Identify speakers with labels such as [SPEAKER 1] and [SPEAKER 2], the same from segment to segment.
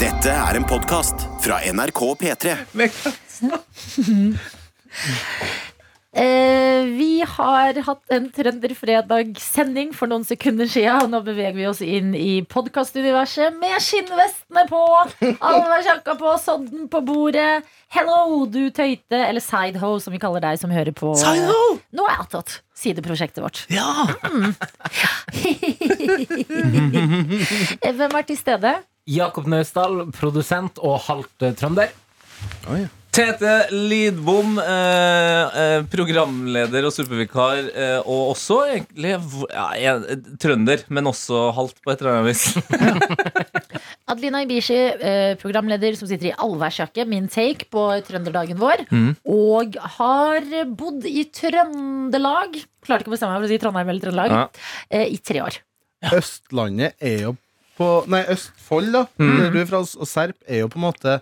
[SPEAKER 1] Dette er en podkast fra NRK P3.
[SPEAKER 2] Eh, vi har hatt en Trønderfredag-sending for noen sekunder siden. Og nå beveger vi oss inn i podkastuniverset med skinnvestene på! Alversjakka på, sodden på bordet. Hello, du tøyte, eller sideho, som vi kaller deg som hører på.
[SPEAKER 3] Sideho!
[SPEAKER 2] Nå er jeg opptatt. Sideprosjektet vårt. Mm.
[SPEAKER 3] Ja!
[SPEAKER 2] Eh, Hvem er til stede?
[SPEAKER 4] Jakob Naustdal, produsent og halvt eh, trønder.
[SPEAKER 3] Tete Lidbom, eh, eh, programleder og supervikar, eh, og også egentlig v- ja, en- eh, trønder, men også halvt på et eller annet vis.
[SPEAKER 2] Adelina Ibishi, eh, programleder som sitter i allværsjakke, min take på trønderdagen vår. Og har bodd i Trøndelag Klarte ikke å bestemme meg for å si Trondheim eller Trøndelag.
[SPEAKER 3] Ja.
[SPEAKER 2] eh, I tre år.
[SPEAKER 5] Østlandet er jo på Nei, Østfold, da.
[SPEAKER 3] Mm.
[SPEAKER 5] Der du er fra, og Serp er jo på en måte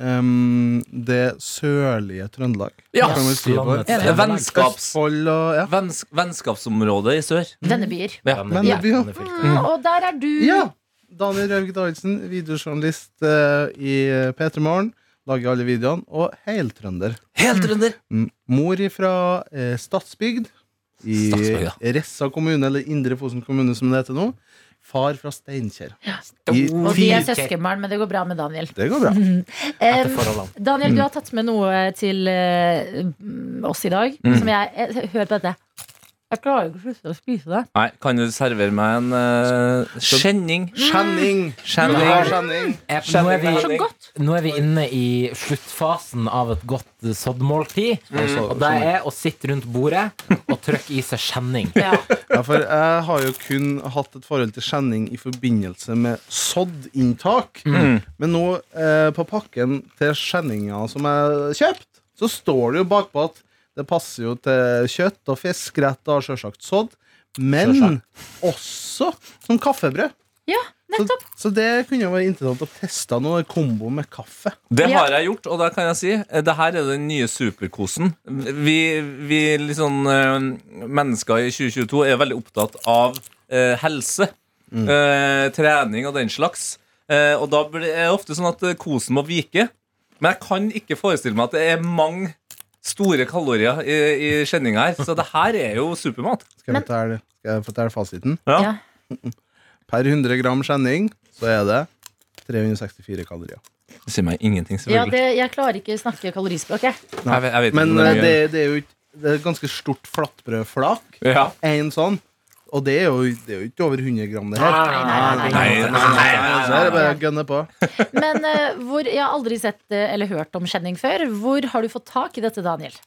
[SPEAKER 5] ehm, det sørlige Trøndelag.
[SPEAKER 3] Ja,
[SPEAKER 5] kan man si det på.
[SPEAKER 4] Østlandet.
[SPEAKER 3] Vennskaps,
[SPEAKER 5] Østfold og ja.
[SPEAKER 3] venns, vennskapsområdet i sør.
[SPEAKER 2] Vennebyer.
[SPEAKER 3] Ja.
[SPEAKER 5] Men vi har-
[SPEAKER 4] det er fryktelig.
[SPEAKER 2] Mm, og der er du.
[SPEAKER 5] ja! Daniel Raug Dahlsen, videojournalist eh, i P3 Morgen. Lager alle videoene. Og heltrønder.
[SPEAKER 3] Helt trønder!
[SPEAKER 5] Mm, Mor ifra eh, Stadsbygd. I
[SPEAKER 3] Stadsbygd, ja.
[SPEAKER 5] Ressa kommune, eller Indre Fosen kommune, som det heter nå. Far fra Steinkjer. I-
[SPEAKER 2] Og de er
[SPEAKER 4] Fy-
[SPEAKER 2] søskenbarn, men det går bra med Daniel.
[SPEAKER 5] Det går bra.
[SPEAKER 3] Mm.
[SPEAKER 2] Eh,
[SPEAKER 4] Etter forholdene.
[SPEAKER 2] Daniel, du har tatt med noe til eh, mm, oss i dag. Som jeg, jeg Hør på dette. Jeg klarer ikke å slutte å spise det.
[SPEAKER 3] Nei, kan du servere meg en eh, skjenning?
[SPEAKER 5] Skjenning! Ja,
[SPEAKER 3] Skjenning.
[SPEAKER 5] skjenning.
[SPEAKER 4] Eh, Nå er,
[SPEAKER 2] Så
[SPEAKER 4] vi,
[SPEAKER 2] godt!
[SPEAKER 4] nå er vi inne i sluttfasen av et godt eh, soddmåltid. Og det er å sitte rundt bordet og trykke i seg skjenning.
[SPEAKER 2] Ja.
[SPEAKER 5] Ja, for jeg har jo kun hatt et forhold til skjenning i forbindelse med soddinntak.
[SPEAKER 2] Mm.
[SPEAKER 5] Men nå, eh, på pakken til skjenninga som jeg kjøpte, så står det jo bakpå at det passer jo til kjøtt og fisk, rett og sjølsagt sodd, men også som kaffebrød.
[SPEAKER 2] ja,
[SPEAKER 5] Så,
[SPEAKER 2] nettopp.
[SPEAKER 5] så det kunne jo være interessant å teste noe kombo med kaffe.
[SPEAKER 3] Det
[SPEAKER 2] Ja.
[SPEAKER 3] har jeg gjort, og da kan jeg si eh, det her er den nye superkosen. Vi, vi liksom, eh, mennesker i 2022 er veldig opptatt av eh, helse, eh, trening og den slags. Eh, og da blir det er det ofte sånn at eh, kosen må vike. Men jeg kan ikke forestille meg at det er mange store kalorier i, i kjenninga her. Så det her er jo supermat.
[SPEAKER 5] Skal jeg fortelle, skal jeg fortelle fasiten?
[SPEAKER 3] Ja.
[SPEAKER 2] Ja.
[SPEAKER 5] Per 100 gram skjenning så er det 364 kalorier.
[SPEAKER 3] Det sier meg ingenting,
[SPEAKER 2] Ja,
[SPEAKER 3] selvfølgelig.
[SPEAKER 2] det, jeg klarer ikke å snakke kalorispråk, jeg.
[SPEAKER 3] Jeg vet- jeg vet ikke
[SPEAKER 5] Men
[SPEAKER 3] hvor
[SPEAKER 5] eh,
[SPEAKER 3] mye-
[SPEAKER 5] det, det er jo ikke Det er et ganske stort flatbrødflak.
[SPEAKER 3] ja.
[SPEAKER 5] En sånn. Og det er, jo, det er jo ikke over 100 gram, det her.
[SPEAKER 2] Nei, nei, nei, nei.
[SPEAKER 3] Nei, nei, nei, nei.
[SPEAKER 5] Så her er det bare å gønne på.
[SPEAKER 2] Men eh, hvor, jeg har aldri sett eh, eller hørt om skjenning før. Hvor har du fått tak i dette, Daniel?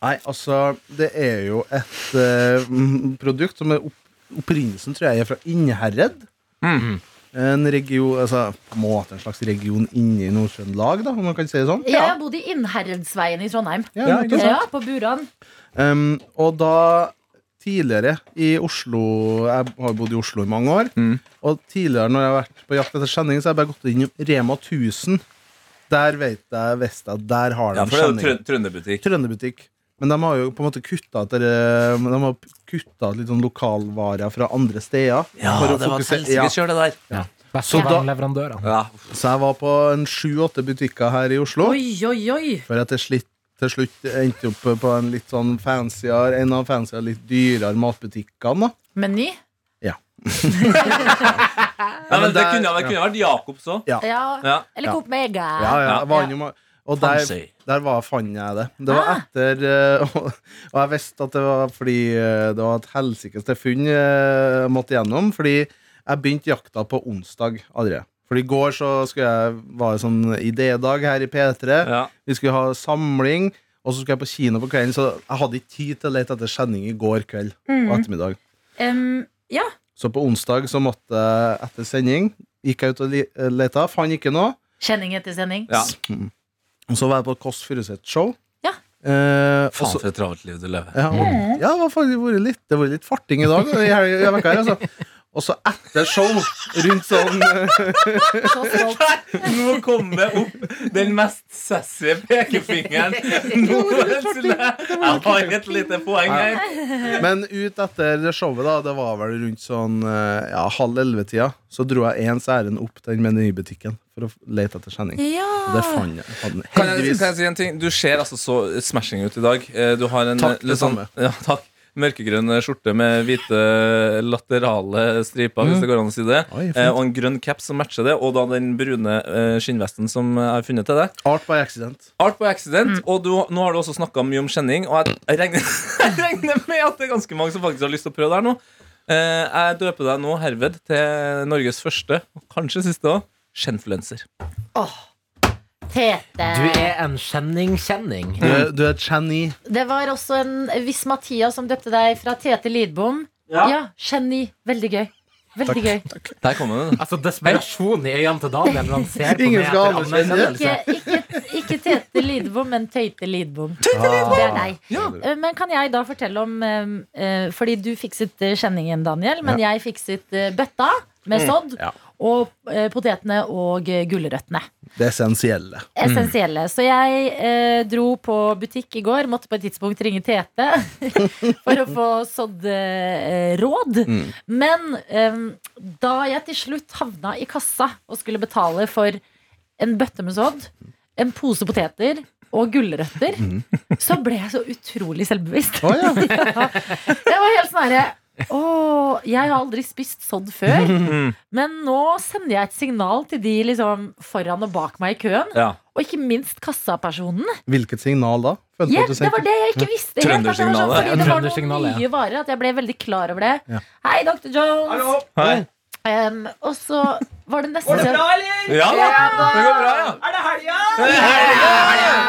[SPEAKER 5] Nei, altså, det er jo et eh, mm, produkt som er opp, opprinnelsen, tror jeg, er fra Innherred.
[SPEAKER 3] Mm.
[SPEAKER 5] En region, altså på en måte en slags region inni Nord-Trøndelag, da, om man kan si det sånn.
[SPEAKER 2] Jeg har bodd i Innherredsveien i Trondheim.
[SPEAKER 5] Ja, nettopp.
[SPEAKER 2] Ja, på Buran.
[SPEAKER 5] Um, og da tidligere i Oslo Jeg har bodd i Oslo i mange år.
[SPEAKER 3] Mm.
[SPEAKER 5] Og tidligere når jeg har vært på jakt etter skjenning, så har jeg bare gått inn i Rema 1000. Der vet jeg, visste jeg, der har de
[SPEAKER 3] ja, for det er jo
[SPEAKER 5] skjenning.
[SPEAKER 3] trø- trønderbutikk.
[SPEAKER 5] Trønderbutikk. Men de har jo på en måte kutta etter eh, De har kutta ut litt sånn lokalvarer fra andre steder.
[SPEAKER 3] Ja,
[SPEAKER 5] for å
[SPEAKER 3] det var et
[SPEAKER 5] fokusere- ja.
[SPEAKER 3] helsikes kjør, det der.
[SPEAKER 4] Ja.
[SPEAKER 5] Så
[SPEAKER 4] Beste
[SPEAKER 5] da-
[SPEAKER 4] leverandører.
[SPEAKER 3] Ja.
[SPEAKER 5] Så jeg var på en sju-åtte butikker her i Oslo.
[SPEAKER 2] Oi, oi, oi!
[SPEAKER 5] Før jeg til slutt, til slutt endte opp på en litt sånn fancyere, en av fancyere, litt dyrere matbutikkene. da
[SPEAKER 2] Meny?
[SPEAKER 3] Ja, men det
[SPEAKER 5] der-
[SPEAKER 3] kunne, det
[SPEAKER 5] ja.
[SPEAKER 3] kunne vært Jakobs òg.
[SPEAKER 5] Ja.
[SPEAKER 2] Ja.
[SPEAKER 3] Ja.
[SPEAKER 2] Eller
[SPEAKER 5] Ja.
[SPEAKER 2] Coop Mega.
[SPEAKER 5] Ja, ja, jeg var
[SPEAKER 2] Ja.
[SPEAKER 5] innom, og der,
[SPEAKER 3] Fancy.
[SPEAKER 5] der var, fant jeg det. Det var
[SPEAKER 2] Ah.
[SPEAKER 5] etter eh, Og, og jeg visste at det var fordi eh, det var et helsikes til funn eh, jeg måtte gjennom. Fordi jeg begynte jakta på onsdag allerede. For i går så skulle jeg var det sånn idédag her i P3.
[SPEAKER 3] Ja.
[SPEAKER 5] Vi skulle ha samling, og så skulle jeg på kino på kvelden. Så jeg hadde ikke tid til å lete etter sending i går kveld og ettermiddag.
[SPEAKER 2] Em, ja.
[SPEAKER 5] Så på onsdag så måtte jeg etter sending Gikk jeg ut og li- leta, fant ikke noe.
[SPEAKER 2] Kjenning etter sending.
[SPEAKER 3] Ja.
[SPEAKER 5] Og så var jeg på et Kåss Furuseth-show.
[SPEAKER 2] Ja.
[SPEAKER 5] Eh, og
[SPEAKER 3] Faen,
[SPEAKER 5] så-
[SPEAKER 3] for et travelt liv du lever.
[SPEAKER 5] ja, og- ja, det har faktisk vært litt, det har vært litt farting i dag. i helga- i veka her, altså. Og så etter show, rundt sånn eh,
[SPEAKER 2] Så stolt.
[SPEAKER 3] Nå kommer opp den mest sassy pekefingeren. Nå plutselig Jeg har et lite poeng her.
[SPEAKER 5] eh, Men ut etter det showet, da, det var vel rundt sånn eh, ja, halv elleve-tida, så dro jeg ens ærend opp den menybutikken. for å lete etter skjenning.
[SPEAKER 2] Ja.
[SPEAKER 5] Det fant jeg. Hadde den
[SPEAKER 3] Kan jeg,
[SPEAKER 5] heldigvis.
[SPEAKER 3] kan jeg si en ting? Du ser altså så smashing ut i dag. Eh, Du har en
[SPEAKER 5] Takk,
[SPEAKER 3] eh, litt
[SPEAKER 5] det
[SPEAKER 3] sånn,
[SPEAKER 5] samme.
[SPEAKER 3] ja, takk. mørkegrønn eh, skjorte med hvite eh, laterale striper, hvis det går an å si det.
[SPEAKER 5] Oi, fint.
[SPEAKER 3] Eh, og en grønn caps som matcher det, og da den brune eh, skinnvesten som jeg har funnet til deg.
[SPEAKER 5] Art by accident.
[SPEAKER 3] Art by accident, og du, nå har du også snakka mye om kjenning, og jeg, jeg, regner, jeg regner med at det er ganske mange som faktisk har lyst til å prøve det her nå. Eh, jeg døper deg nå herved til Norges første, og kanskje siste òg, skjenfluenser.
[SPEAKER 2] Tete.
[SPEAKER 4] Du er en kjenning-kjenning.
[SPEAKER 5] Du er, du er Channy.
[SPEAKER 2] Det var også en viss Mathias som døpte deg fra Tete Lidbom. Ja, geni. Veldig gøy. Veldig gøy.
[SPEAKER 3] Der kom den.
[SPEAKER 4] Altså desperasjon i øynene til Daniel når han ser på
[SPEAKER 5] Ingen
[SPEAKER 4] meg
[SPEAKER 5] skal
[SPEAKER 4] etter anerkjennelse.
[SPEAKER 2] Ikke, ikke, ikke Tete Lidbom, men Tøyte Lidbom. Det er deg. Eh, Men kan jeg da fortelle om eh, eh, Fordi du fikset eh, kjenningen, Daniel, men jeg fikset eh, bøtta med sodd.
[SPEAKER 5] ja.
[SPEAKER 2] Og eh, potetene og eh, gulrøttene.
[SPEAKER 5] Det essensielle.
[SPEAKER 2] Essensielle. Så jeg eh, dro på butikk i går. Måtte på et tidspunkt ringe Tete for å få sådd eh, råd. Men em, da jeg til slutt havna i kassa og skulle betale for en bøtte med sådd, en pose poteter og gulrøtter, så ble jeg så utrolig selvbevisst.
[SPEAKER 5] Å ja.
[SPEAKER 2] Jeg var helt sånn herre Å, jeg har aldri spist sådd før. Men nå sender jeg et signal til de liksom foran og bak meg i køen.
[SPEAKER 3] Ja.
[SPEAKER 2] Og ikke minst kassapersonen.
[SPEAKER 5] Hvilket signal da? Følte
[SPEAKER 2] Ja,
[SPEAKER 5] at du
[SPEAKER 2] det var
[SPEAKER 5] tenkte-
[SPEAKER 2] det jeg ikke visste. helt, at det var sånn,
[SPEAKER 3] Trøndersignalet.
[SPEAKER 2] fordi det var noen
[SPEAKER 4] Trøndersignalet, ja.
[SPEAKER 2] nye varer at jeg ble veldig klar over det.
[SPEAKER 5] Ja.
[SPEAKER 2] Hei, Dr. Jones.
[SPEAKER 3] Hei.
[SPEAKER 2] Em, og så var det nesten sånn
[SPEAKER 3] Ja da! Det går bra, ja. Er det helga?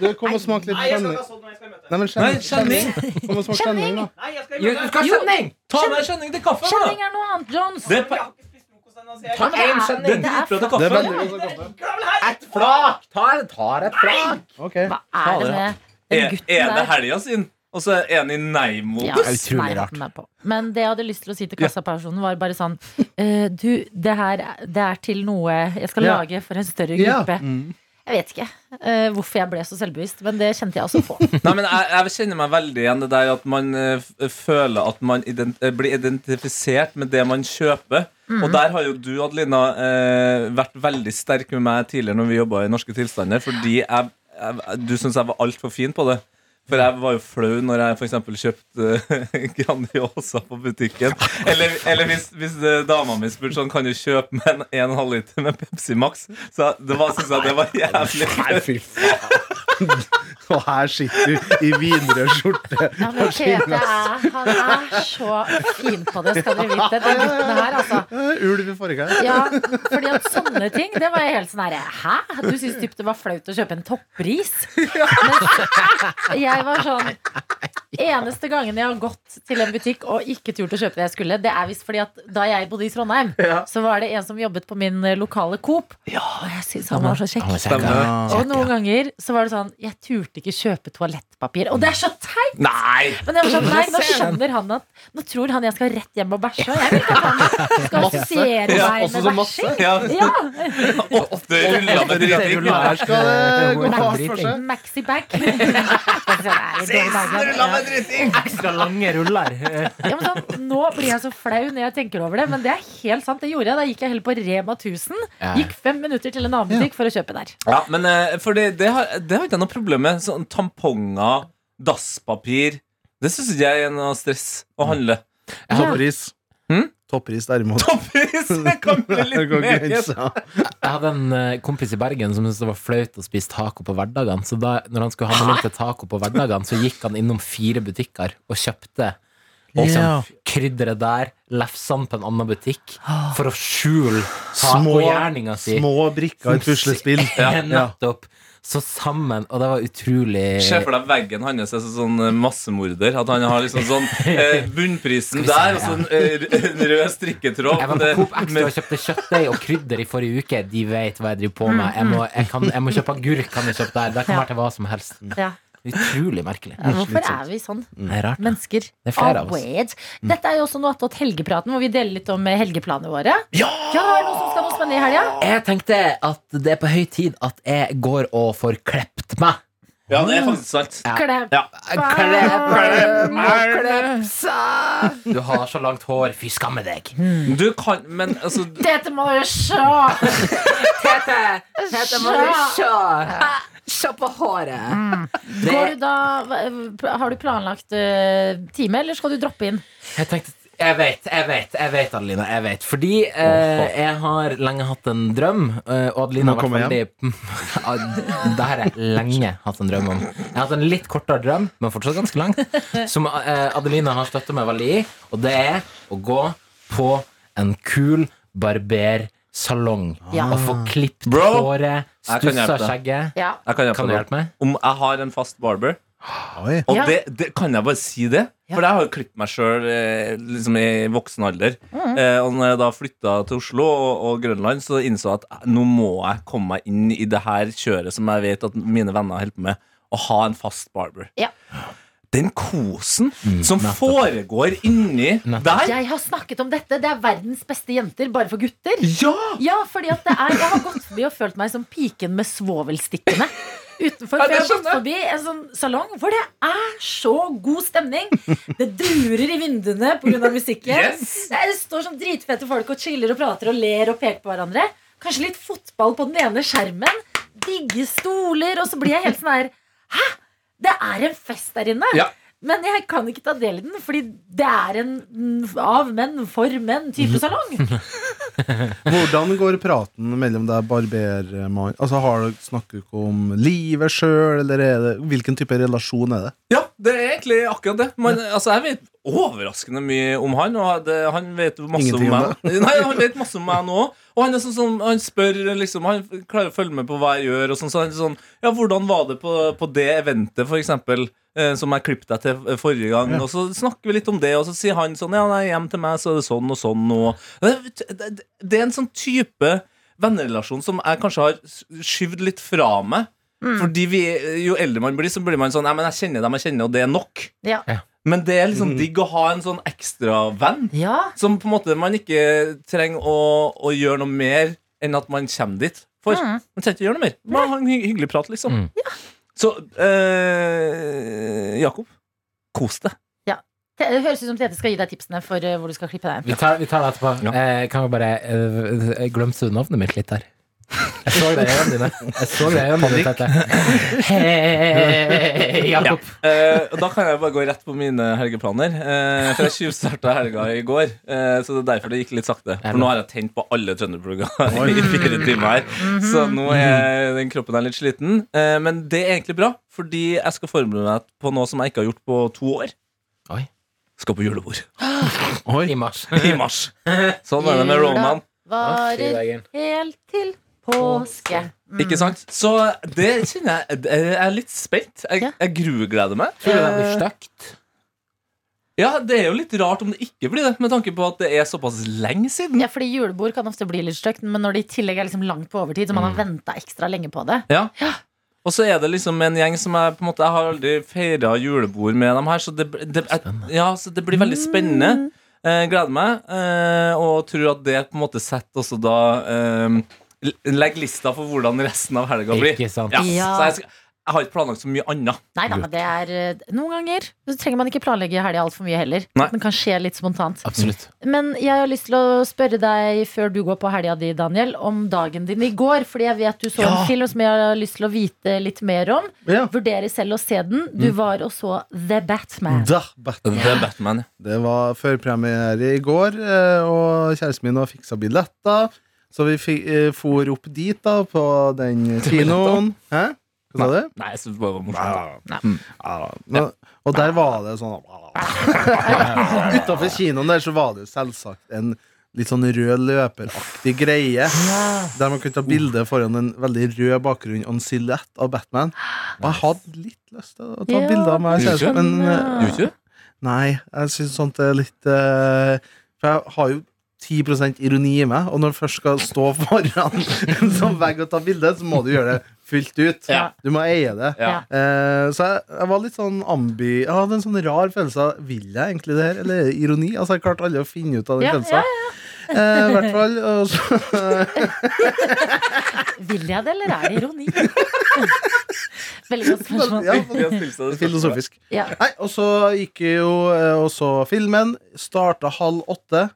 [SPEAKER 5] Du, kom og smak litt Channy. Nei, men
[SPEAKER 3] Nei,
[SPEAKER 5] Channy.
[SPEAKER 3] kjenning.
[SPEAKER 5] Kom og smak Channy, da.
[SPEAKER 4] Du skal ha kjenning!
[SPEAKER 3] Ta med kjenning til kaffen, da.
[SPEAKER 2] Kjenning er noe annet, Jones.
[SPEAKER 3] Det er pa-
[SPEAKER 4] Ta
[SPEAKER 2] Det er-
[SPEAKER 4] en
[SPEAKER 3] det er
[SPEAKER 4] kjenning.
[SPEAKER 3] dritbra til
[SPEAKER 5] Det er
[SPEAKER 3] kaffen.
[SPEAKER 5] veldig godt å kaffe.
[SPEAKER 4] Et flak! Ta, ta et flak!
[SPEAKER 5] Ok.
[SPEAKER 2] Hva er det med den
[SPEAKER 3] Er,
[SPEAKER 2] gutten
[SPEAKER 3] er det
[SPEAKER 2] der?
[SPEAKER 3] helga sin? Og så er han i nei-modus.
[SPEAKER 4] Det er utrolig
[SPEAKER 2] nei,
[SPEAKER 4] rart.
[SPEAKER 2] jeg er på. Men det jeg hadde lyst til å si til kassapersonen, var bare sånn eh, Du, det her det er til noe jeg skal
[SPEAKER 5] Ja.
[SPEAKER 2] lage for en større
[SPEAKER 5] Ja.
[SPEAKER 2] gruppe.
[SPEAKER 4] Mm.
[SPEAKER 2] Jeg vet ikke eh, hvorfor jeg ble så selvbevisst, men det kjente jeg altså på.
[SPEAKER 3] Nei, men jeg, jeg kjenner meg veldig igjen i det der at man eh, f- føler at man ident eh, blir identifisert med det man kjøper. Og der har jo du, Adelina, eh, vært veldig sterk med meg tidligere når vi jobba i Norske tilstander, fordi jeg, jeg, du syns jeg var altfor fin på det. For jeg var jo flau når jeg f.eks. kjøpte eh, Grandiosa på butikken. Eller, eller hvis, hvis eh, dama mi spurte sånn Kan du kjøpe meg en, en halvliter med Pepsi Max? Så det var, synes jeg det var jævlig
[SPEAKER 5] Nei, fy faen. Og her sitter du i vinrød skjorte.
[SPEAKER 2] Ja, men Tete er, han er så fin på det, skal dere vite. Den gutten her, altså.
[SPEAKER 5] Eh, Ulv i forrige gang.
[SPEAKER 2] Ja, fordi at sånne ting, det var jeg helt sånn herre Hæ? Du syntes typ det var flaut å kjøpe en toppris? Men jeg var sånn Eneste gangen jeg har gått til en butikk og ikke turt å kjøpe det jeg skulle, det er visst fordi at da jeg bodde i Trondheim, så var det en som jobbet på min eh, lokale Coop. Og jeg syns han var så kjekk.
[SPEAKER 3] Stemmer
[SPEAKER 2] Og noen ganger så var det sånn Jeg turte ikke kjøpe toalettpapir. Og det er så teit!
[SPEAKER 3] Nei!
[SPEAKER 2] Men jeg var sånn, nei, nå skjønner han at Nå tror han jeg skal rett hjem og bæsje. og Jeg vil ikke at han skal assosiere
[SPEAKER 3] Ja,
[SPEAKER 2] meg
[SPEAKER 5] også
[SPEAKER 2] med
[SPEAKER 5] så masse.
[SPEAKER 2] bæsjing.
[SPEAKER 3] Ja,
[SPEAKER 2] Ja,
[SPEAKER 3] Åtte ruller med driting.
[SPEAKER 5] Her skal det gå fast for seg.
[SPEAKER 2] maxi bag. ja,
[SPEAKER 4] Ekstra lange ruller.
[SPEAKER 2] men sånn, nå blir jeg så flau når jeg tenker over det, men det er helt sant. Det gjorde jeg. Da gikk jeg heller på Rema 1000.
[SPEAKER 4] Ja.
[SPEAKER 2] Gikk fem minutter til en annen butikk for å kjøpe der.
[SPEAKER 3] Ja, men eh, for det, det, har, det har ikke jeg noe problem med. Sånn tamponger, dasspapir Det syns ikke jeg er noe stress å handle.
[SPEAKER 5] Toppris.
[SPEAKER 3] Hm?
[SPEAKER 5] Toppris, derimot.
[SPEAKER 3] Toppris! Det kan bli
[SPEAKER 5] Det
[SPEAKER 3] litt
[SPEAKER 5] går
[SPEAKER 3] mer
[SPEAKER 5] grensa.
[SPEAKER 4] Jeg hadde en eh, kompis i Bergen som syntes det var flaut å spise taco på hverdagene. Så da når han skulle handle inn til taco på hverdagene, så gikk han innom fire butikker og kjøpte liksom,
[SPEAKER 5] Ja.
[SPEAKER 4] krydderet der, lefsene på en annen butikk, for å skjule
[SPEAKER 5] Små,
[SPEAKER 4] tacogjerninga si.
[SPEAKER 5] små brikker i et puslespill.
[SPEAKER 4] Nettopp. Så sammen, og det var utrolig
[SPEAKER 3] Se for deg veggen hans er sånn eh, massemorder. At han har liksom sånn eh, bunnprisen der og sånn eh, r- rød strikketråd.
[SPEAKER 4] Jeg var på
[SPEAKER 3] Det-
[SPEAKER 4] Coop Extra og
[SPEAKER 3] med-
[SPEAKER 4] kjøpte kjøttdeig og krydder i forrige uke. De vet hva jeg driver på med. Jeg må, jeg kan, jeg må kjøpe agurk. Kan jeg kjøpe der. Det kan
[SPEAKER 2] Ja.
[SPEAKER 4] være til hva som helst.
[SPEAKER 2] Ja.
[SPEAKER 4] Utrolig merkelig.
[SPEAKER 2] Hvorfor er vi sånn?
[SPEAKER 5] Mm.
[SPEAKER 4] Det er rart.
[SPEAKER 2] Mennesker.
[SPEAKER 4] Det er flere av oss.
[SPEAKER 2] Always. Dette er jo også noe attåt helgepraten, hvor vi deler litt om eh, helgeplanene våre. Ja! er det noe som skal noe spennende i helga?
[SPEAKER 4] Jeg tenkte at det er på høy tid at jeg går og får klept meg.
[SPEAKER 3] Ja, det er faktisk sant.
[SPEAKER 2] Klepp.
[SPEAKER 3] Ja.
[SPEAKER 4] Du har så langt hår, fy skamme deg.
[SPEAKER 3] Du kan Men altså
[SPEAKER 2] Dette må du se!
[SPEAKER 6] Dette må du se! Se på håret!
[SPEAKER 2] Går du da, hva- har du planlagt eh, time, eller skal du droppe inn?
[SPEAKER 4] Jeg tenkte jeg vet, jeg vet, jeg vet, Adelina. jeg vet Fordi eh, jeg har lenge hatt en drøm. eh, Og Adelina
[SPEAKER 5] Nå
[SPEAKER 4] har
[SPEAKER 5] kommer
[SPEAKER 4] vært veldig Ad- Det har jeg lenge hatt en drøm om. Jeg har hatt en litt kortere drøm, men fortsatt ganske lang, som eh, Adelina har støtta meg veldig i. Og det er å gå på en kul barbersalong
[SPEAKER 2] Ja.
[SPEAKER 4] og få klippet
[SPEAKER 3] Bro,
[SPEAKER 4] håret,
[SPEAKER 3] jeg kan
[SPEAKER 4] stussa
[SPEAKER 3] hjelpe deg.
[SPEAKER 4] skjegget.
[SPEAKER 2] Ja.
[SPEAKER 3] Jeg kan
[SPEAKER 4] Kan
[SPEAKER 3] hjelpe
[SPEAKER 4] du
[SPEAKER 3] deg.
[SPEAKER 4] hjelpe meg?
[SPEAKER 3] Om jeg har en fast barber
[SPEAKER 5] Oi.
[SPEAKER 3] Og
[SPEAKER 2] Ja.
[SPEAKER 3] det, det kan jeg bare si det. For jeg har jo klippet meg sjøl eh, liksom i voksen alder.
[SPEAKER 2] Mm.
[SPEAKER 3] Eh, og når jeg da flytta til Oslo og, og Grønland, så innså jeg at nå må jeg komme meg inn i det her kjøret som jeg vet at mine venner holder på med. Å ha en fast barber.
[SPEAKER 2] Ja.
[SPEAKER 3] Den kosen
[SPEAKER 4] Mm,
[SPEAKER 3] som foregår inni der.
[SPEAKER 2] Jeg har snakket om dette. Det er verdens beste jenter, bare for gutter.
[SPEAKER 3] Ja!
[SPEAKER 2] Ja, fordi at det er Jeg har gått forbi og følt meg som piken med svovelstikkene.
[SPEAKER 3] Ja,
[SPEAKER 2] Utenfor, for
[SPEAKER 3] det
[SPEAKER 2] jeg har gått
[SPEAKER 3] skjønner jeg.
[SPEAKER 2] forbi en sånn salong hvor det er så god stemning. Det durer i vinduene pga. musikken.
[SPEAKER 3] Yes.
[SPEAKER 2] Det står sånn dritfete folk og chiller og prater og ler og peker på hverandre. Kanskje litt fotball på den ene skjermen. Digge stoler. Og så blir jeg helt sånn her Hæ! Det er en fest der inne.
[SPEAKER 3] Ja.
[SPEAKER 2] Men jeg kan ikke ta del i den, fordi det er en mm, av menn for menn-type
[SPEAKER 3] Mm.
[SPEAKER 2] salong.
[SPEAKER 5] Hvordan går praten mellom deg barbermann Altså, har du, Snakker du ikke om livet sjøl, eller er det, hvilken type relasjon er det?
[SPEAKER 3] Ja, det er egentlig akkurat det. Men altså, jeg vet overraskende mye om han. Og det, han vet jo masse
[SPEAKER 5] Ingenting
[SPEAKER 3] om
[SPEAKER 5] om
[SPEAKER 3] meg. Nei, han vet masse om meg nå òg. Og han er sånn som han spør liksom, Han klarer å følge med på hva jeg gjør. Og sånn, så han er sånn Ja, hvordan var det på, på det eventet, for eksempel? eh, Som jeg klippet deg til eh, forrige gang. Og så snakker vi litt om det, og så sier han sånn Ja, nei, hjem til meg, så er det sånn og sånn og Det, det, det er en sånn type vennerelasjon som jeg kanskje har skyvd litt fra meg. Fordi vi, Jo eldre man blir, så blir man sånn Nei, men jeg kjenner dem jeg kjenner, og det er nok.
[SPEAKER 2] Ja.
[SPEAKER 3] Men det er liksom digg å ha en sånn ekstravenn
[SPEAKER 2] ja.
[SPEAKER 3] som på en måte man ikke trenger å, å gjøre noe mer enn at man kommer dit for.
[SPEAKER 2] Mm.
[SPEAKER 3] Man trenger ikke gjøre noe mer. Bare ha en hy- hyggelig prat, liksom.
[SPEAKER 4] Mm.
[SPEAKER 3] Så eh, Jakob, kos deg.
[SPEAKER 2] Det høres ut som Tete skal gi deg tipsene for eh, hvor du skal klippe deg.
[SPEAKER 4] Vi tar, vi tar det etterpå.
[SPEAKER 3] Ja.
[SPEAKER 4] Eh, kan vi bare eh, Jeg glemte du navnet mitt litt der? Jeg så det i øynene dine. Jeg så det i øynene dine, Tete. Hei, Jakob.
[SPEAKER 3] Eh, og da kan jeg bare gå rett på mine helgeplaner. Eh, for jeg tjuvstarta helga i går, eh, så det er derfor det gikk litt sakte. For nå har jeg tent på alle trønderplugger i fire timer her. Så nå er den kroppen er litt sliten. Eh, men det er egentlig bra, fordi jeg skal forberede meg på noe som jeg ikke har gjort på to år.
[SPEAKER 4] Oi.
[SPEAKER 3] Skal på julebord
[SPEAKER 4] I mars.
[SPEAKER 3] i mars. Sånn er det med Roman.
[SPEAKER 2] Varer
[SPEAKER 4] Fridagen.
[SPEAKER 2] helt til påske.
[SPEAKER 3] Ikke sant? Så det kjenner jeg Jeg er litt spent.
[SPEAKER 2] Ja.
[SPEAKER 3] Jeg, jeg grugleder meg.
[SPEAKER 4] Tror du det blir stygt?
[SPEAKER 3] Ja, Det er jo litt rart om det ikke blir det, med tanke på at det er såpass lenge siden.
[SPEAKER 2] Ja, fordi Julebord kan ofte bli litt stygt, men når det i tillegg er liksom langt på overtid, så man har
[SPEAKER 3] Mm.
[SPEAKER 2] venta ekstra lenge på det
[SPEAKER 3] Ja. Og så er det liksom en gjeng som jeg på en måte Jeg har aldri feira julebord med dem her, så det, det, jeg, ja, så det blir veldig spennende. Eh, gleder meg, eh, og tror at det på en måte setter også da eh, l- Legger lista for hvordan resten av helga blir.
[SPEAKER 4] Ikke sant.
[SPEAKER 3] Ja,
[SPEAKER 2] Ja.
[SPEAKER 3] Så jeg, skal, jeg har ikke planlagt så mye annet.
[SPEAKER 2] Nei da, men det er eh, Noen ganger så trenger man ikke planlegge helga altfor mye heller.
[SPEAKER 3] Nei.
[SPEAKER 2] Den kan skje litt spontant.
[SPEAKER 4] Absolutt.
[SPEAKER 2] Men jeg har lyst til å spørre deg før du går på helga di, Daniel, om dagen din i går. Fordi jeg vet du så en film som jeg har lyst til å vite litt mer om.
[SPEAKER 5] Ja.
[SPEAKER 2] Vurdere selv å se den. Du
[SPEAKER 3] Mm.
[SPEAKER 2] var og så The Batman.
[SPEAKER 5] Da, Bat-
[SPEAKER 3] Det er Batman.
[SPEAKER 5] Det var førpremiere i går, eh, og kjæresten min har fiksa billetter. Så vi fi- eh, for opp dit, da, på den kinoen. Hæ? Hva sa du?
[SPEAKER 3] Nei, Mm. jeg synes det bare var morsomt.
[SPEAKER 5] Ja. Ja. Og der var det sånn Utafor kinoen der så var det jo selvsagt en litt sånn rød løperaktig greie. Der man kunne ta bilde foran en veldig rød bakgrunn og en silhuett av Batman. Og jeg hadde litt lyst til å ta
[SPEAKER 2] Ja,
[SPEAKER 5] bilde av meg og
[SPEAKER 3] det
[SPEAKER 5] kjæresten, men eh,
[SPEAKER 3] Gjorde ikke du?
[SPEAKER 5] Nei, jeg syns sånt er litt eh, For jeg har jo 10 ironi i meg, og når du først skal stå foran en sånn vegg og ta bilde, så må du gjøre det fullt ut.
[SPEAKER 2] Ja.
[SPEAKER 5] Du må eie det.
[SPEAKER 3] Ja.
[SPEAKER 5] Eh, så jeg, jeg var litt sånn ambi Jeg hadde en sånn rar følelse av Vil jeg egentlig det her, eller er det ironi? Altså, jeg klarte aldri å finne ut av den
[SPEAKER 2] Ja,
[SPEAKER 5] følelsen. Eh, I hvert fall. Og så,
[SPEAKER 2] Vil jeg det, eller er det ironi? Veldig godt spørsmål.
[SPEAKER 5] Ja,
[SPEAKER 3] Vi har stilt seg det spørsmålet.
[SPEAKER 5] filosofisk.
[SPEAKER 2] Ja.
[SPEAKER 5] Nei, og så gikk jeg jo eh, og så filmen. Starta halv åtte.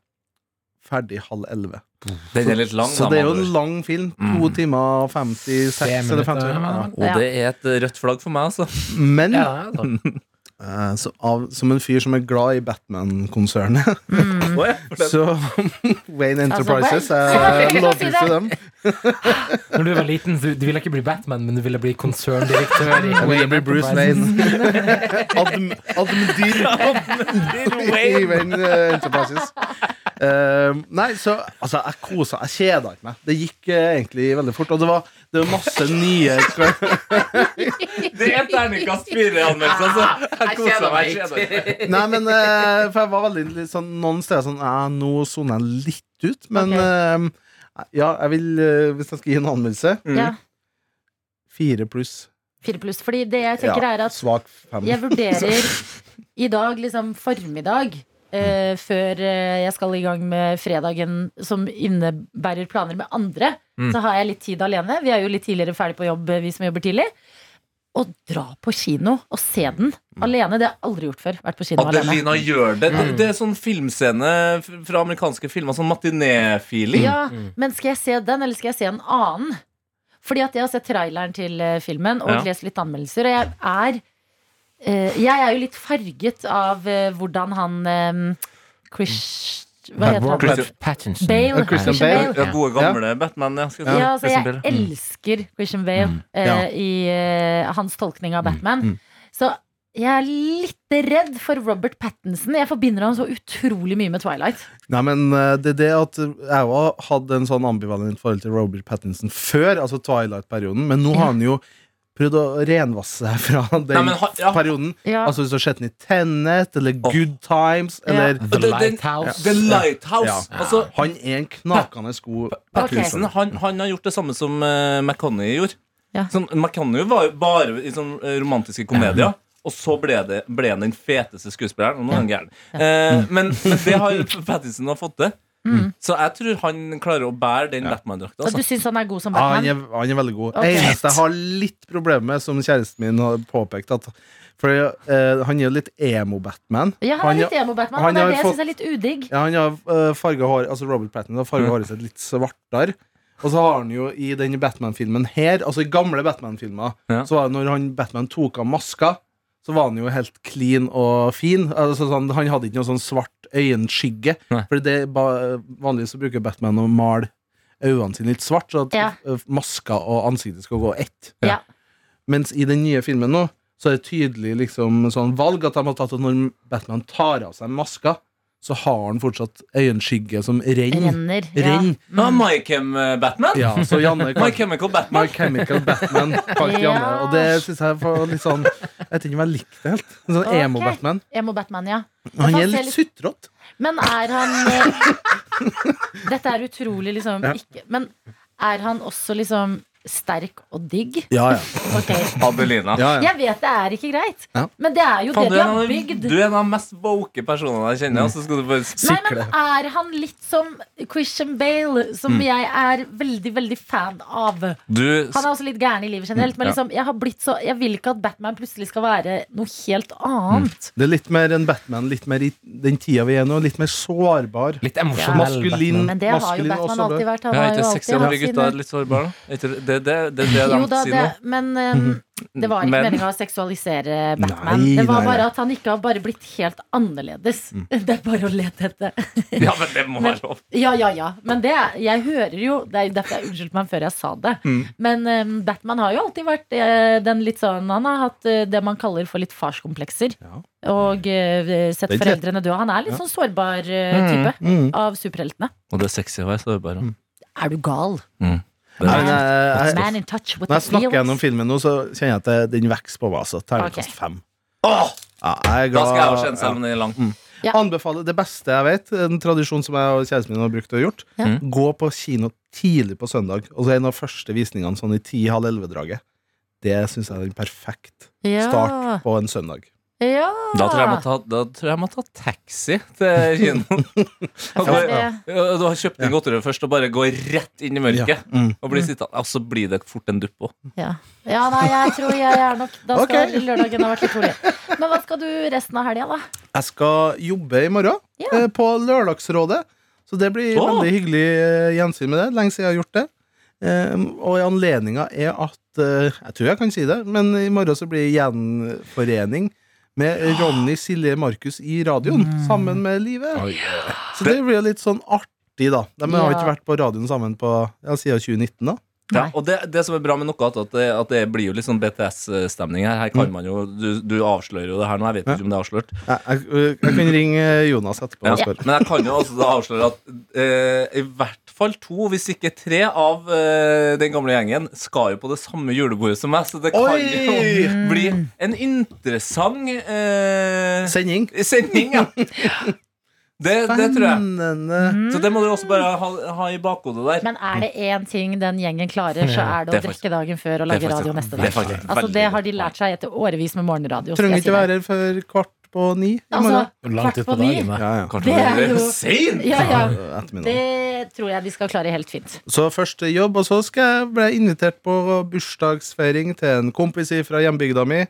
[SPEAKER 5] Ferdig halv elleve.
[SPEAKER 3] Den er litt lang,
[SPEAKER 5] så
[SPEAKER 3] da,
[SPEAKER 5] det er jo
[SPEAKER 3] med andre
[SPEAKER 5] en
[SPEAKER 3] ord.
[SPEAKER 5] lang film. To timer og 56
[SPEAKER 4] Tre
[SPEAKER 5] eller 50
[SPEAKER 4] minutter,
[SPEAKER 5] ja.
[SPEAKER 3] Og det er et rødt flagg for meg, altså.
[SPEAKER 5] Men
[SPEAKER 4] Ja, det er det.
[SPEAKER 5] eh, så av, som en fyr som er glad i Batman-konsernet,
[SPEAKER 2] Mm.
[SPEAKER 3] Å, ja, for det-
[SPEAKER 5] så Wayne Enterprises
[SPEAKER 2] Wayne-
[SPEAKER 5] er lovpris til dem.
[SPEAKER 4] Når du var liten, du, du ville ikke bli Batman, men du ville bli konserndirektør. i-
[SPEAKER 5] Jeg ville bli Bruce Wayne. Adm, admdyr
[SPEAKER 3] sånn.
[SPEAKER 5] i Wayne eh, Enterprises. Eh, nei, så altså, jeg kosa Jeg kjeda ikke meg. Det gikk eh, egentlig veldig fort. Og det var, det var masse nye
[SPEAKER 3] Det er terningkast fire-anmeldelse, altså. Jeg koser meg. jeg kjeder meg.
[SPEAKER 5] Nei, men eh, For jeg var veldig litt sånn noen steder sånn ja, Nå soner jeg litt ut, men
[SPEAKER 2] Ok.
[SPEAKER 5] eh, Ja, jeg vil eh, Hvis jeg skal gi en anmeldelse
[SPEAKER 2] Ja,
[SPEAKER 5] Fire pluss.
[SPEAKER 2] fire pluss. Fordi det jeg tenker er at
[SPEAKER 5] svak fem.
[SPEAKER 2] jeg vurderer i dag, liksom formiddag, eh, før eh, jeg skal i gang med fredagen som innebærer planer med andre, så har jeg litt tid alene. Vi er jo litt tidligere ferdig på jobb, eh, vi som jobber tidlig. Å dra på kino og se den alene, det har jeg aldri gjort før. Vært på kino alene.
[SPEAKER 3] Adelina gjør det. Det- Det er sånn filmscene f- fra amerikanske filmer. Sånn matiné-feeling.
[SPEAKER 2] Ja, men skal jeg se den, eller skal jeg se en annen? Fordi at jeg har sett traileren til eh, filmen og
[SPEAKER 3] Ja.
[SPEAKER 2] lest litt anmeldelser, og jeg er eh, Jeg er jo litt farget av eh, hvordan han eh, Chris Hva heter han?
[SPEAKER 4] Robert Pattinson.
[SPEAKER 2] Bale.
[SPEAKER 5] Christian
[SPEAKER 2] Christian Bale.
[SPEAKER 3] Ja, gode, gamle Batman. Ja, skal jeg si.
[SPEAKER 2] Ja, altså,
[SPEAKER 3] Christian
[SPEAKER 2] jeg
[SPEAKER 3] Bale. Mm.
[SPEAKER 2] elsker Christian Bale eh,
[SPEAKER 5] Ja.
[SPEAKER 2] i eh, hans tolkning
[SPEAKER 3] Mm.
[SPEAKER 2] av Batman. Så jeg er litt redd for Robert Pattinson. Jeg forbinder ham så utrolig mye med Twilight.
[SPEAKER 5] Nei, men eh, det er det at jeg òg hadde en sånn ambivalent forhold til Robert Pattinson før, altså Twilight-perioden, men nå har han jo prøvd å renvasse seg fra den
[SPEAKER 3] Nei, men ha- ja.
[SPEAKER 5] perioden.
[SPEAKER 2] Ja.
[SPEAKER 5] Altså hvis du har sett den i Tenet eller Good Times eller
[SPEAKER 4] The
[SPEAKER 3] Den- den-
[SPEAKER 4] Lighthouse.
[SPEAKER 3] The Lighthouse.
[SPEAKER 5] Ja.
[SPEAKER 3] Altså,
[SPEAKER 5] Han er en knakende god
[SPEAKER 3] Pattinson
[SPEAKER 5] kunstner.
[SPEAKER 3] han, han har gjort det samme som uh, McConney gjorde.
[SPEAKER 2] Ja.
[SPEAKER 3] Sånn, McConney var jo bare i sånn eh, romantiske komedier. Og så ble, det, ble han den feteste skuespilleren. Og nå er han gæren. Eh, men, men det har Pattinson har fått til. Så jeg tror han klarer å bære den Batman-drakta.
[SPEAKER 2] Og du
[SPEAKER 3] Altså.
[SPEAKER 2] syns han er god som
[SPEAKER 5] Ja, han
[SPEAKER 2] Batman?
[SPEAKER 5] er, han er veldig god.
[SPEAKER 2] Ok.
[SPEAKER 5] Eneste jeg har litt problemer med, som kjæresten min har påpekt at, For eh, han er jo litt emo-Batman.
[SPEAKER 2] Ja, han er litt
[SPEAKER 5] er-
[SPEAKER 2] emo-Batman.
[SPEAKER 5] han
[SPEAKER 2] og Det er
[SPEAKER 5] har
[SPEAKER 2] det jeg
[SPEAKER 5] fått-
[SPEAKER 2] syns er litt udigg.
[SPEAKER 5] Ja, han har uh, farga hår Altså Robert Pattinson
[SPEAKER 3] Mm.
[SPEAKER 5] har farga håret sitt litt svartere. Og så har han jo i den Batman-filmen her, altså i gamle Batman-filmer,
[SPEAKER 3] Ja.
[SPEAKER 5] så var det når han Batman tok av maska, så var han jo helt clean og fin. Altså sånn, Han hadde ikke noe sånn svart øyenskygge.
[SPEAKER 3] Nei.
[SPEAKER 5] For det er ba- vanligvis så bruker Batman å male øynene sine litt svart, så at
[SPEAKER 2] Ja.
[SPEAKER 5] eh, maska og ansiktet skal gå ett.
[SPEAKER 2] Ja.
[SPEAKER 5] Mens i den nye filmen nå Så er det tydelig liksom sånn valg At de har tatt at når Batman tar av seg maska Så har han fortsatt øyenskygge som renn
[SPEAKER 2] Renner.
[SPEAKER 5] Renn
[SPEAKER 3] Ja, eh, My Chem-Batman.
[SPEAKER 5] Ja, så
[SPEAKER 3] My
[SPEAKER 5] Janne My
[SPEAKER 3] Chemical Batman.
[SPEAKER 5] Chemical Batman kalte
[SPEAKER 2] Ja.
[SPEAKER 5] Janne Og det synes jeg var litt sånn Jeg vet ikke om jeg likte det helt En sånn
[SPEAKER 2] Ok.
[SPEAKER 5] emo-Batman
[SPEAKER 2] Ja. Emo-Batman, ja.
[SPEAKER 5] Han
[SPEAKER 2] Jeg
[SPEAKER 5] er
[SPEAKER 2] fant
[SPEAKER 5] litt
[SPEAKER 2] litt-
[SPEAKER 5] suttrått
[SPEAKER 2] Men er han eh, Dette er utrolig, liksom. Ikke, men er han også liksom sterk og digg?
[SPEAKER 5] Ja, ja,
[SPEAKER 2] Ok.
[SPEAKER 3] Adelina.
[SPEAKER 5] ja, ja.
[SPEAKER 2] Jeg vet det er ikke greit,
[SPEAKER 5] Ja.
[SPEAKER 2] men det er jo
[SPEAKER 3] Faen,
[SPEAKER 2] det
[SPEAKER 3] du, er
[SPEAKER 2] de
[SPEAKER 3] en
[SPEAKER 2] har
[SPEAKER 3] av de,
[SPEAKER 2] bygd.
[SPEAKER 3] du er en av de mest woke personene jeg kjenner. Og så skal du bare s-
[SPEAKER 2] Nei, men
[SPEAKER 5] Sikle.
[SPEAKER 2] er han litt som Christian Bale, som
[SPEAKER 5] Mm.
[SPEAKER 2] jeg er veldig, veldig fan av?
[SPEAKER 3] Du
[SPEAKER 2] Han er også litt gæren i livet generelt, men
[SPEAKER 3] Ja.
[SPEAKER 2] liksom, jeg, har blitt så, jeg vil ikke at Batman plutselig skal være noe helt annet.
[SPEAKER 5] Det er litt mer enn Batman Litt mer i den tiden vi er nå Litt mer sårbar
[SPEAKER 4] Litt emosjonell.
[SPEAKER 5] Maskulin
[SPEAKER 2] Men det har jo
[SPEAKER 5] maskulin
[SPEAKER 2] Batman
[SPEAKER 5] også, det.
[SPEAKER 2] alltid vært. Han
[SPEAKER 3] Ja,
[SPEAKER 2] har
[SPEAKER 3] ikke
[SPEAKER 2] jo
[SPEAKER 3] sexy
[SPEAKER 2] alltid
[SPEAKER 3] når vi
[SPEAKER 2] hatt
[SPEAKER 3] gutta
[SPEAKER 2] sine
[SPEAKER 3] er litt sårbare, da? Er ikke Det det, det, det, det de
[SPEAKER 2] Jo da,
[SPEAKER 3] sier
[SPEAKER 2] det,
[SPEAKER 3] nå.
[SPEAKER 2] men ehm, det var ikke
[SPEAKER 3] Men-
[SPEAKER 2] meninga å seksualisere Batman.
[SPEAKER 5] Nei,
[SPEAKER 2] det var
[SPEAKER 5] nei, Mm.
[SPEAKER 2] bare
[SPEAKER 5] nei.
[SPEAKER 2] at han ikke har bare blitt helt annerledes. Det er bare å lete etter.
[SPEAKER 3] Ja, men det må være lov.
[SPEAKER 2] Ja, ja, ja. Men det, jeg hører jo Det er jo derfor jeg unnskyldte meg før jeg sa det.
[SPEAKER 5] Mm.
[SPEAKER 2] Men ehm, Batman har jo alltid vært eh, den litt sånn Han har hatt eh, det man kaller for litt farskomplekser. Og eh, sett
[SPEAKER 5] Den tett-
[SPEAKER 2] foreldrene dø. Han er litt sånn sårbar eh, type
[SPEAKER 5] Mm.
[SPEAKER 2] av superheltene.
[SPEAKER 3] Og det er sexy å være sårbar.
[SPEAKER 2] Er du gal?
[SPEAKER 5] Nei, men jeg- jeg-
[SPEAKER 2] Man in touch with
[SPEAKER 5] Når
[SPEAKER 2] the
[SPEAKER 5] jeg snakker gjennom
[SPEAKER 2] feels.
[SPEAKER 5] filmen nå, så kjenner jeg at det- den vokser på meg. Altså.
[SPEAKER 2] Ok.
[SPEAKER 5] Terningkast fem.
[SPEAKER 3] Åh!
[SPEAKER 5] Ja, jeg er
[SPEAKER 3] Da
[SPEAKER 5] glad-
[SPEAKER 3] skal jeg også kjenne selv om den er lang.
[SPEAKER 5] Ja. Anbefaler det beste jeg vet, en tradisjon som jeg og kjæresten min har brukt og gjort.
[SPEAKER 2] Ja.
[SPEAKER 3] Mm.
[SPEAKER 5] Gå på kino tidlig på søndag. Og så en av første visningene sånn i ti-halv elleve-draget. Det syns jeg er en perfekt
[SPEAKER 2] Ja.
[SPEAKER 5] start på en søndag.
[SPEAKER 2] Ja.
[SPEAKER 3] Da tror jeg jeg må ta, da tror jeg jeg må ta taxi til kinoen. Og
[SPEAKER 2] tror
[SPEAKER 3] gå- og Du har kjøpt inn godteriet først og bare gå rett inn i mørket.
[SPEAKER 5] Mm.
[SPEAKER 3] Og blir sittende. Og så blir det fort en dupp òg.
[SPEAKER 2] Ja. ja, nei, jeg tror jeg er nok Da skal
[SPEAKER 5] Ok.
[SPEAKER 2] lørdagen ha vært litt rolig. Men hva skal du resten av helga, da?
[SPEAKER 5] Jeg skal jobbe i morgen,
[SPEAKER 2] Ja.
[SPEAKER 5] eh, på Lørdagsrådet. Så det blir
[SPEAKER 3] Åh.
[SPEAKER 5] veldig hyggelig eh, gjensyn med det. Lenge siden jeg har gjort det. Eh, og anledninga er at eh, Jeg tror jeg kan si det, men i morgen så blir det gjenforening med Ronny, Silje, Markus i radioen
[SPEAKER 3] Mm.
[SPEAKER 5] sammen med Live. Så det blir jo litt sånn artig, da. De har
[SPEAKER 2] Ja.
[SPEAKER 5] ikke vært på radioen sammen på ja, siden 2019, da.
[SPEAKER 3] Ja,
[SPEAKER 2] Nei.
[SPEAKER 3] og det, det som er bra med noe, at, at, det, at det blir jo litt sånn BTS-stemning her. Her kan man jo, du, du avslører jo det her nå. Jeg vet ikke om det er avslørt.
[SPEAKER 5] Jeg, jeg, jeg kan ringe Jonas etterpå og
[SPEAKER 3] Ja.
[SPEAKER 5] spørre.
[SPEAKER 3] Men jeg kan jo altså da avsløre at eh, i hvert fall to, hvis ikke tre, av eh, den gamle gjengen skal jo på det samme julebordet som meg, så det kan
[SPEAKER 5] Oi!
[SPEAKER 3] jo bli en interessant eh,
[SPEAKER 5] Sending.
[SPEAKER 3] sending, ja. Det, det tror jeg.
[SPEAKER 5] Spennende.
[SPEAKER 3] Så det må du også bare ha, ha i bakhodet der.
[SPEAKER 2] Men er det én ting den gjengen klarer, så er det å
[SPEAKER 3] Det er faktisk-
[SPEAKER 2] drikke dagen
[SPEAKER 3] det
[SPEAKER 2] før og
[SPEAKER 3] er
[SPEAKER 2] lage
[SPEAKER 3] faktisk-
[SPEAKER 2] radio neste
[SPEAKER 3] det er
[SPEAKER 2] dag.
[SPEAKER 3] faktisk
[SPEAKER 2] Altså,
[SPEAKER 3] veldig
[SPEAKER 2] det har de
[SPEAKER 3] godt
[SPEAKER 2] lært seg etter årevis med morgenradio. skal
[SPEAKER 5] Trenger
[SPEAKER 2] jeg si
[SPEAKER 5] ikke
[SPEAKER 2] deg.
[SPEAKER 5] være her før kvart på ni i
[SPEAKER 2] Altså,
[SPEAKER 5] morgen.
[SPEAKER 2] kvart på ni.
[SPEAKER 4] dagen, da.
[SPEAKER 5] Ja, ja.
[SPEAKER 3] Kanskje
[SPEAKER 2] Det er
[SPEAKER 3] det er
[SPEAKER 2] jo-
[SPEAKER 3] sent!
[SPEAKER 2] Ja, ja.
[SPEAKER 5] Ettermiddag.
[SPEAKER 2] Det tror jeg de skal klare helt fint.
[SPEAKER 5] Så først jobb, og så skal jeg ble jeg invitert på bursdagsfeiring til en kompis fra hjembygda mi. Eh,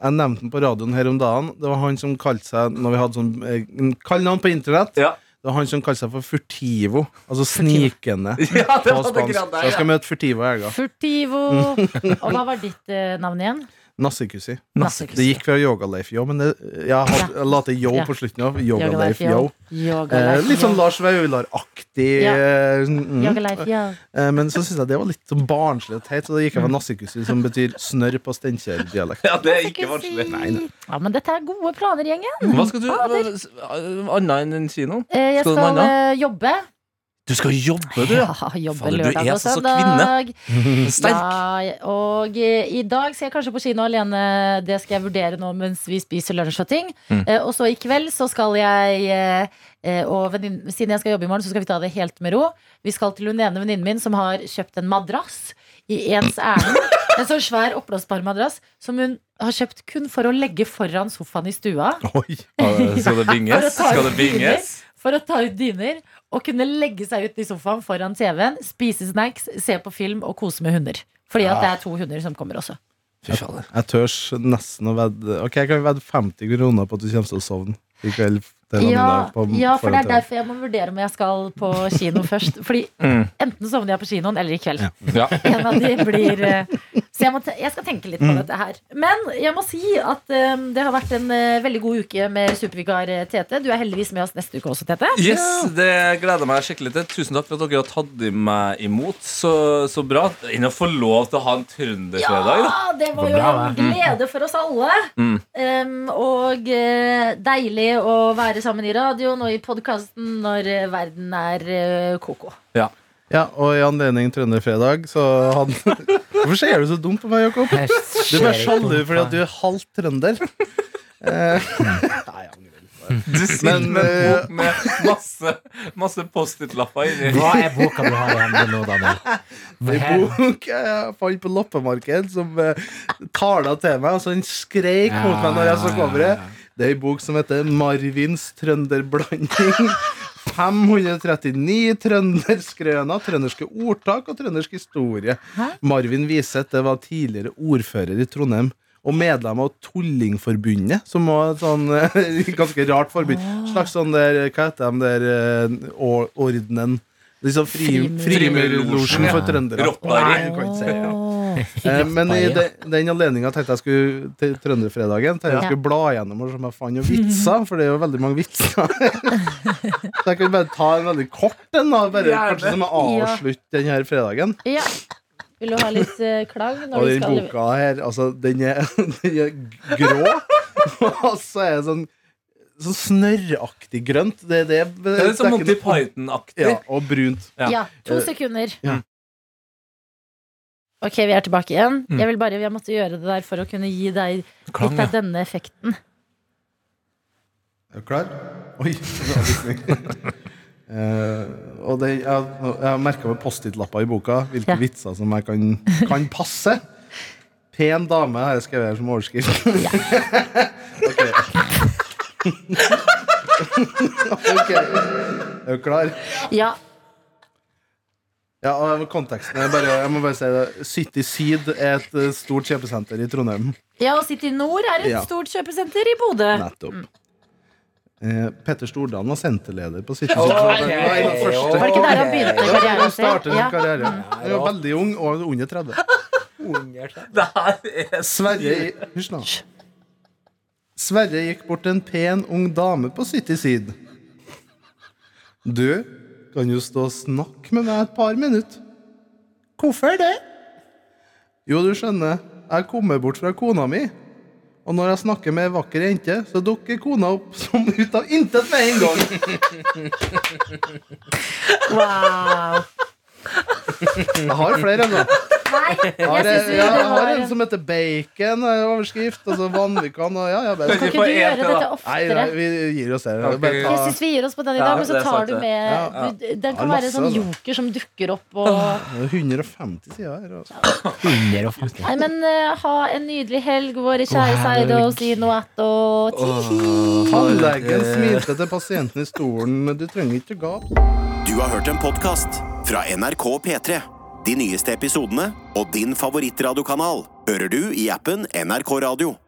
[SPEAKER 5] jeg nevnte den på radioen her om dagen. Det var han som kalte seg Når vi hadde sånn eh, kallenavn på internett.
[SPEAKER 3] Ja.
[SPEAKER 5] Det var han som kalte seg for Furtivo. Altså snikende.
[SPEAKER 3] Ja, det
[SPEAKER 5] På
[SPEAKER 3] var det
[SPEAKER 5] spansk.
[SPEAKER 3] greia
[SPEAKER 5] Så jeg
[SPEAKER 3] der.
[SPEAKER 5] skal møte Furtivo i helga.
[SPEAKER 2] Furtivo. Og hva var ditt eh, navn igjen?
[SPEAKER 5] Nassikussi.
[SPEAKER 2] Nassekusi.
[SPEAKER 5] Det gikk fra Yogaleif Yo, men det, jeg, hadde, jeg la til yo
[SPEAKER 2] Ja.
[SPEAKER 5] på slutten av.
[SPEAKER 2] Yoga
[SPEAKER 5] Yogaleif
[SPEAKER 2] Life
[SPEAKER 5] Yo.
[SPEAKER 2] Yo. Yoga
[SPEAKER 5] Eh,
[SPEAKER 2] Life
[SPEAKER 5] litt sånn
[SPEAKER 2] Yo.
[SPEAKER 5] Lars Vaular-aktig.
[SPEAKER 2] Ja.
[SPEAKER 5] eh, mm,
[SPEAKER 2] Yoga Life Yo.
[SPEAKER 5] Eh, Men så syntes jeg det var litt sånn barnslig og teit, så da gikk jeg for nassikussi, som betyr snørr på Steinkjer-dialekt.
[SPEAKER 3] Ja, det er ikke vanskelig.
[SPEAKER 2] Ja, men dette er gode planer, gjengen.
[SPEAKER 3] Hva skal du Annet enn kinoen?
[SPEAKER 2] Eh, Jeg
[SPEAKER 3] Skal du
[SPEAKER 2] skal,
[SPEAKER 3] noe
[SPEAKER 2] eh, jobbe.
[SPEAKER 3] Du skal jobbe, du,
[SPEAKER 2] Ja,
[SPEAKER 3] ja!
[SPEAKER 2] jobbe
[SPEAKER 3] Fader, du er
[SPEAKER 2] lørdag og
[SPEAKER 3] altså så
[SPEAKER 2] søndag.
[SPEAKER 3] Sterk.
[SPEAKER 2] Ja, og eh, i dag skal jeg kanskje på kino alene. Det skal jeg vurdere nå mens vi spiser lunsj og ting.
[SPEAKER 3] Mm.
[SPEAKER 2] Eh, og så i kveld så skal jeg eh, eh, og vennin- Siden jeg skal jobbe i morgen, så skal vi ta det helt med ro. Vi skal til hun ene venninnen min som har kjøpt en madrass i ens ærend. En sånn svær oppblåsbar madrass som hun har kjøpt kun for å legge foran sofaen i stua.
[SPEAKER 5] Oi.
[SPEAKER 3] Skal det binges? Skal det binges?
[SPEAKER 2] For å ta ut dyner og kunne legge seg ut i sofaen foran TV-en, spise snacks, se på film og kose med hunder. Fordi at det er to hunder som kommer også.
[SPEAKER 5] Jeg tørs nesten å vedde Ok, jeg kan vedde 50 kroner på at du kommer til å sovne i kveld. til
[SPEAKER 2] Ja,
[SPEAKER 5] Namida på-
[SPEAKER 2] ja, for det
[SPEAKER 5] foran
[SPEAKER 2] er
[SPEAKER 5] TV.
[SPEAKER 2] derfor jeg må vurdere om jeg skal på kino først. Fordi enten sovner jeg på kinoen eller i kveld.
[SPEAKER 3] Ja.
[SPEAKER 2] En av de blir eh, Så jeg, må te jeg skal tenke litt
[SPEAKER 5] Mm.
[SPEAKER 2] på dette her. Men jeg må si at eh, det har vært en eh, veldig god uke med supervikar eh, Tete. Du er heldigvis med oss neste uke også, Tete.
[SPEAKER 3] Yes, det gleder jeg meg skikkelig til. Tusen takk for at dere har tatt i meg imot. Så, så bra. Enn å få lov til å ha en trønderfredag, da.
[SPEAKER 2] Ja, Ah, det var jo
[SPEAKER 4] Bra,
[SPEAKER 2] en glede for oss alle.
[SPEAKER 5] Mm.
[SPEAKER 2] Um, og eh, deilig å være sammen i radioen og i podkasten når eh, verden er eh, koko.
[SPEAKER 5] Ja, og i anledning Trønderfredag, så hadde Hvorfor ser du så dumt på meg, Jakob?
[SPEAKER 4] Jeg
[SPEAKER 5] Du er bare
[SPEAKER 4] ser ikke
[SPEAKER 5] sjalu
[SPEAKER 4] noe
[SPEAKER 5] fordi at
[SPEAKER 4] på-
[SPEAKER 5] du er halvt trønder. Eh, Nei, jeg angrer litt på det.
[SPEAKER 3] Du sitter
[SPEAKER 5] Men, eh,
[SPEAKER 3] med en bok med masse, masse Post-It-lapper inni.
[SPEAKER 4] Hva er boka du har i hendene nå, Daniel?
[SPEAKER 5] Det er
[SPEAKER 4] Her-
[SPEAKER 5] en bok jeg fant på loppemarked, som eh, tala til meg, og så den skreik mot meg når jeg så coveret. Det er ei bok som heter Marvins trønderblanding. 539 trønderskrøner, trønderske ordtak og trøndersk historie. Marvin Wiseth det var tidligere ordfører i Trondheim. Og medlem av Tullingforbundet, som var et sånn eh, ganske rart forbund. Slags sånn der, hva heter de der eh, or- ordenen? Liksom fri,
[SPEAKER 2] Frimur-
[SPEAKER 5] Frimurlosjen for
[SPEAKER 4] Ja.
[SPEAKER 5] trøndere.
[SPEAKER 3] Rottari.
[SPEAKER 5] Nei, du kan ikke si det. Eh, Men i de, den anledninga tenkte jeg skulle til Trønderfredagen Tenkte jeg
[SPEAKER 2] Ja.
[SPEAKER 5] skulle bla gjennom og se om jeg fant noen vitser, for det er jo veldig mange vitser. Så jeg kan bare ta en veldig kort en, da. Bare,
[SPEAKER 3] Gjerne.
[SPEAKER 5] kanskje som
[SPEAKER 2] Ja.
[SPEAKER 5] avslutte den her fredagen.
[SPEAKER 2] Ja. Vil du ha litt eh, klang? Når
[SPEAKER 5] Og
[SPEAKER 2] vi
[SPEAKER 5] den
[SPEAKER 2] skal
[SPEAKER 5] boka her, altså, den er, den er grå. Og så er det sånn Sånn snørraktig grønt. Det, det, det,
[SPEAKER 3] Det er litt sånn Monty
[SPEAKER 5] ikke noe-
[SPEAKER 3] Python-aktig.
[SPEAKER 5] Ja, og brunt.
[SPEAKER 3] Ja.
[SPEAKER 2] Ja, to sekunder.
[SPEAKER 5] Ja.
[SPEAKER 2] Ok, vi er tilbake igjen.
[SPEAKER 5] Mm.
[SPEAKER 2] Jeg vil bare, jeg måtte gjøre det der for å kunne gi deg
[SPEAKER 3] Klang,
[SPEAKER 2] litt
[SPEAKER 3] ja.
[SPEAKER 2] av denne effekten.
[SPEAKER 5] Er du klar? Oi, det var avslutning. Eh, og det, jeg, jeg har merka med Post-It-lapper i boka hvilke
[SPEAKER 2] Ja.
[SPEAKER 5] vitser som jeg kan, kan passe. Pen dame har jeg skrevet her som overskrift. ok. ok. Er du klar?
[SPEAKER 2] Ja.
[SPEAKER 5] Ja, og konteksten er bare, Jeg må bare si det. City Seed er et eh, stort kjøpesenter i Trondheim.
[SPEAKER 2] ja, og City Nord er et
[SPEAKER 5] Ja.
[SPEAKER 2] stort kjøpesenter i Bodø. Mm.
[SPEAKER 5] Nettopp. Eh, Petter Stordalen var senterleder på City Seed. Det var en av de første.
[SPEAKER 2] Var det ikke der han begynte
[SPEAKER 5] Ja, det var da
[SPEAKER 2] karrieren
[SPEAKER 5] han startet
[SPEAKER 2] sin?
[SPEAKER 5] sin
[SPEAKER 2] Ja.
[SPEAKER 5] karriere. Han var veldig ung og under 30.
[SPEAKER 3] Det her er
[SPEAKER 5] Sverre Hysj nå. Sverre gikk bort til en pen, ung dame på City Seed. Du kan jo stå og snakke med meg et par minutter. Hvorfor det? Jo, du skjønner, jeg kommer bort fra kona mi. Og når jeg snakker med ei vakker jente, så dukker kona opp som ut av intet med en gang.
[SPEAKER 2] Wow.
[SPEAKER 5] Jeg har flere, altså.
[SPEAKER 2] Nei, jeg
[SPEAKER 5] Har,
[SPEAKER 2] synes
[SPEAKER 5] jeg,
[SPEAKER 2] jo
[SPEAKER 5] ja,
[SPEAKER 2] det
[SPEAKER 5] jeg har
[SPEAKER 2] var
[SPEAKER 5] en som heter Bacon, er overskrift. Og så Vanvikan og ja, ja. bare-
[SPEAKER 2] Kan
[SPEAKER 3] Vi
[SPEAKER 2] ikke
[SPEAKER 3] får
[SPEAKER 2] du
[SPEAKER 3] ete,
[SPEAKER 2] gjøre
[SPEAKER 3] da.
[SPEAKER 2] dette
[SPEAKER 5] Nei,
[SPEAKER 2] oftere?
[SPEAKER 5] nei, vi gir oss her.
[SPEAKER 3] Ok.
[SPEAKER 5] Bare
[SPEAKER 2] Jeg
[SPEAKER 5] ta
[SPEAKER 2] syns vi gir oss på den i
[SPEAKER 3] Ja,
[SPEAKER 2] dag, men så
[SPEAKER 3] det er sant
[SPEAKER 2] tar du
[SPEAKER 3] det.
[SPEAKER 2] med
[SPEAKER 5] Ja,
[SPEAKER 2] du- Den kan
[SPEAKER 5] Ja,
[SPEAKER 2] være en sånn
[SPEAKER 5] masse, altså.
[SPEAKER 2] joker som dukker opp og
[SPEAKER 5] det er 150 sider her. altså.
[SPEAKER 2] Nei, men eh, ha en nydelig helg, våre kjære Seide, og si noe attåt. Hihi.
[SPEAKER 5] Tannlegen smilte til pasienten i stolen. men Du trenger ikke gap.
[SPEAKER 1] Du har hørt en podcast fra NRK P3. De nyeste episodene og din favorittradiokanal hører du i appen NRK Radio.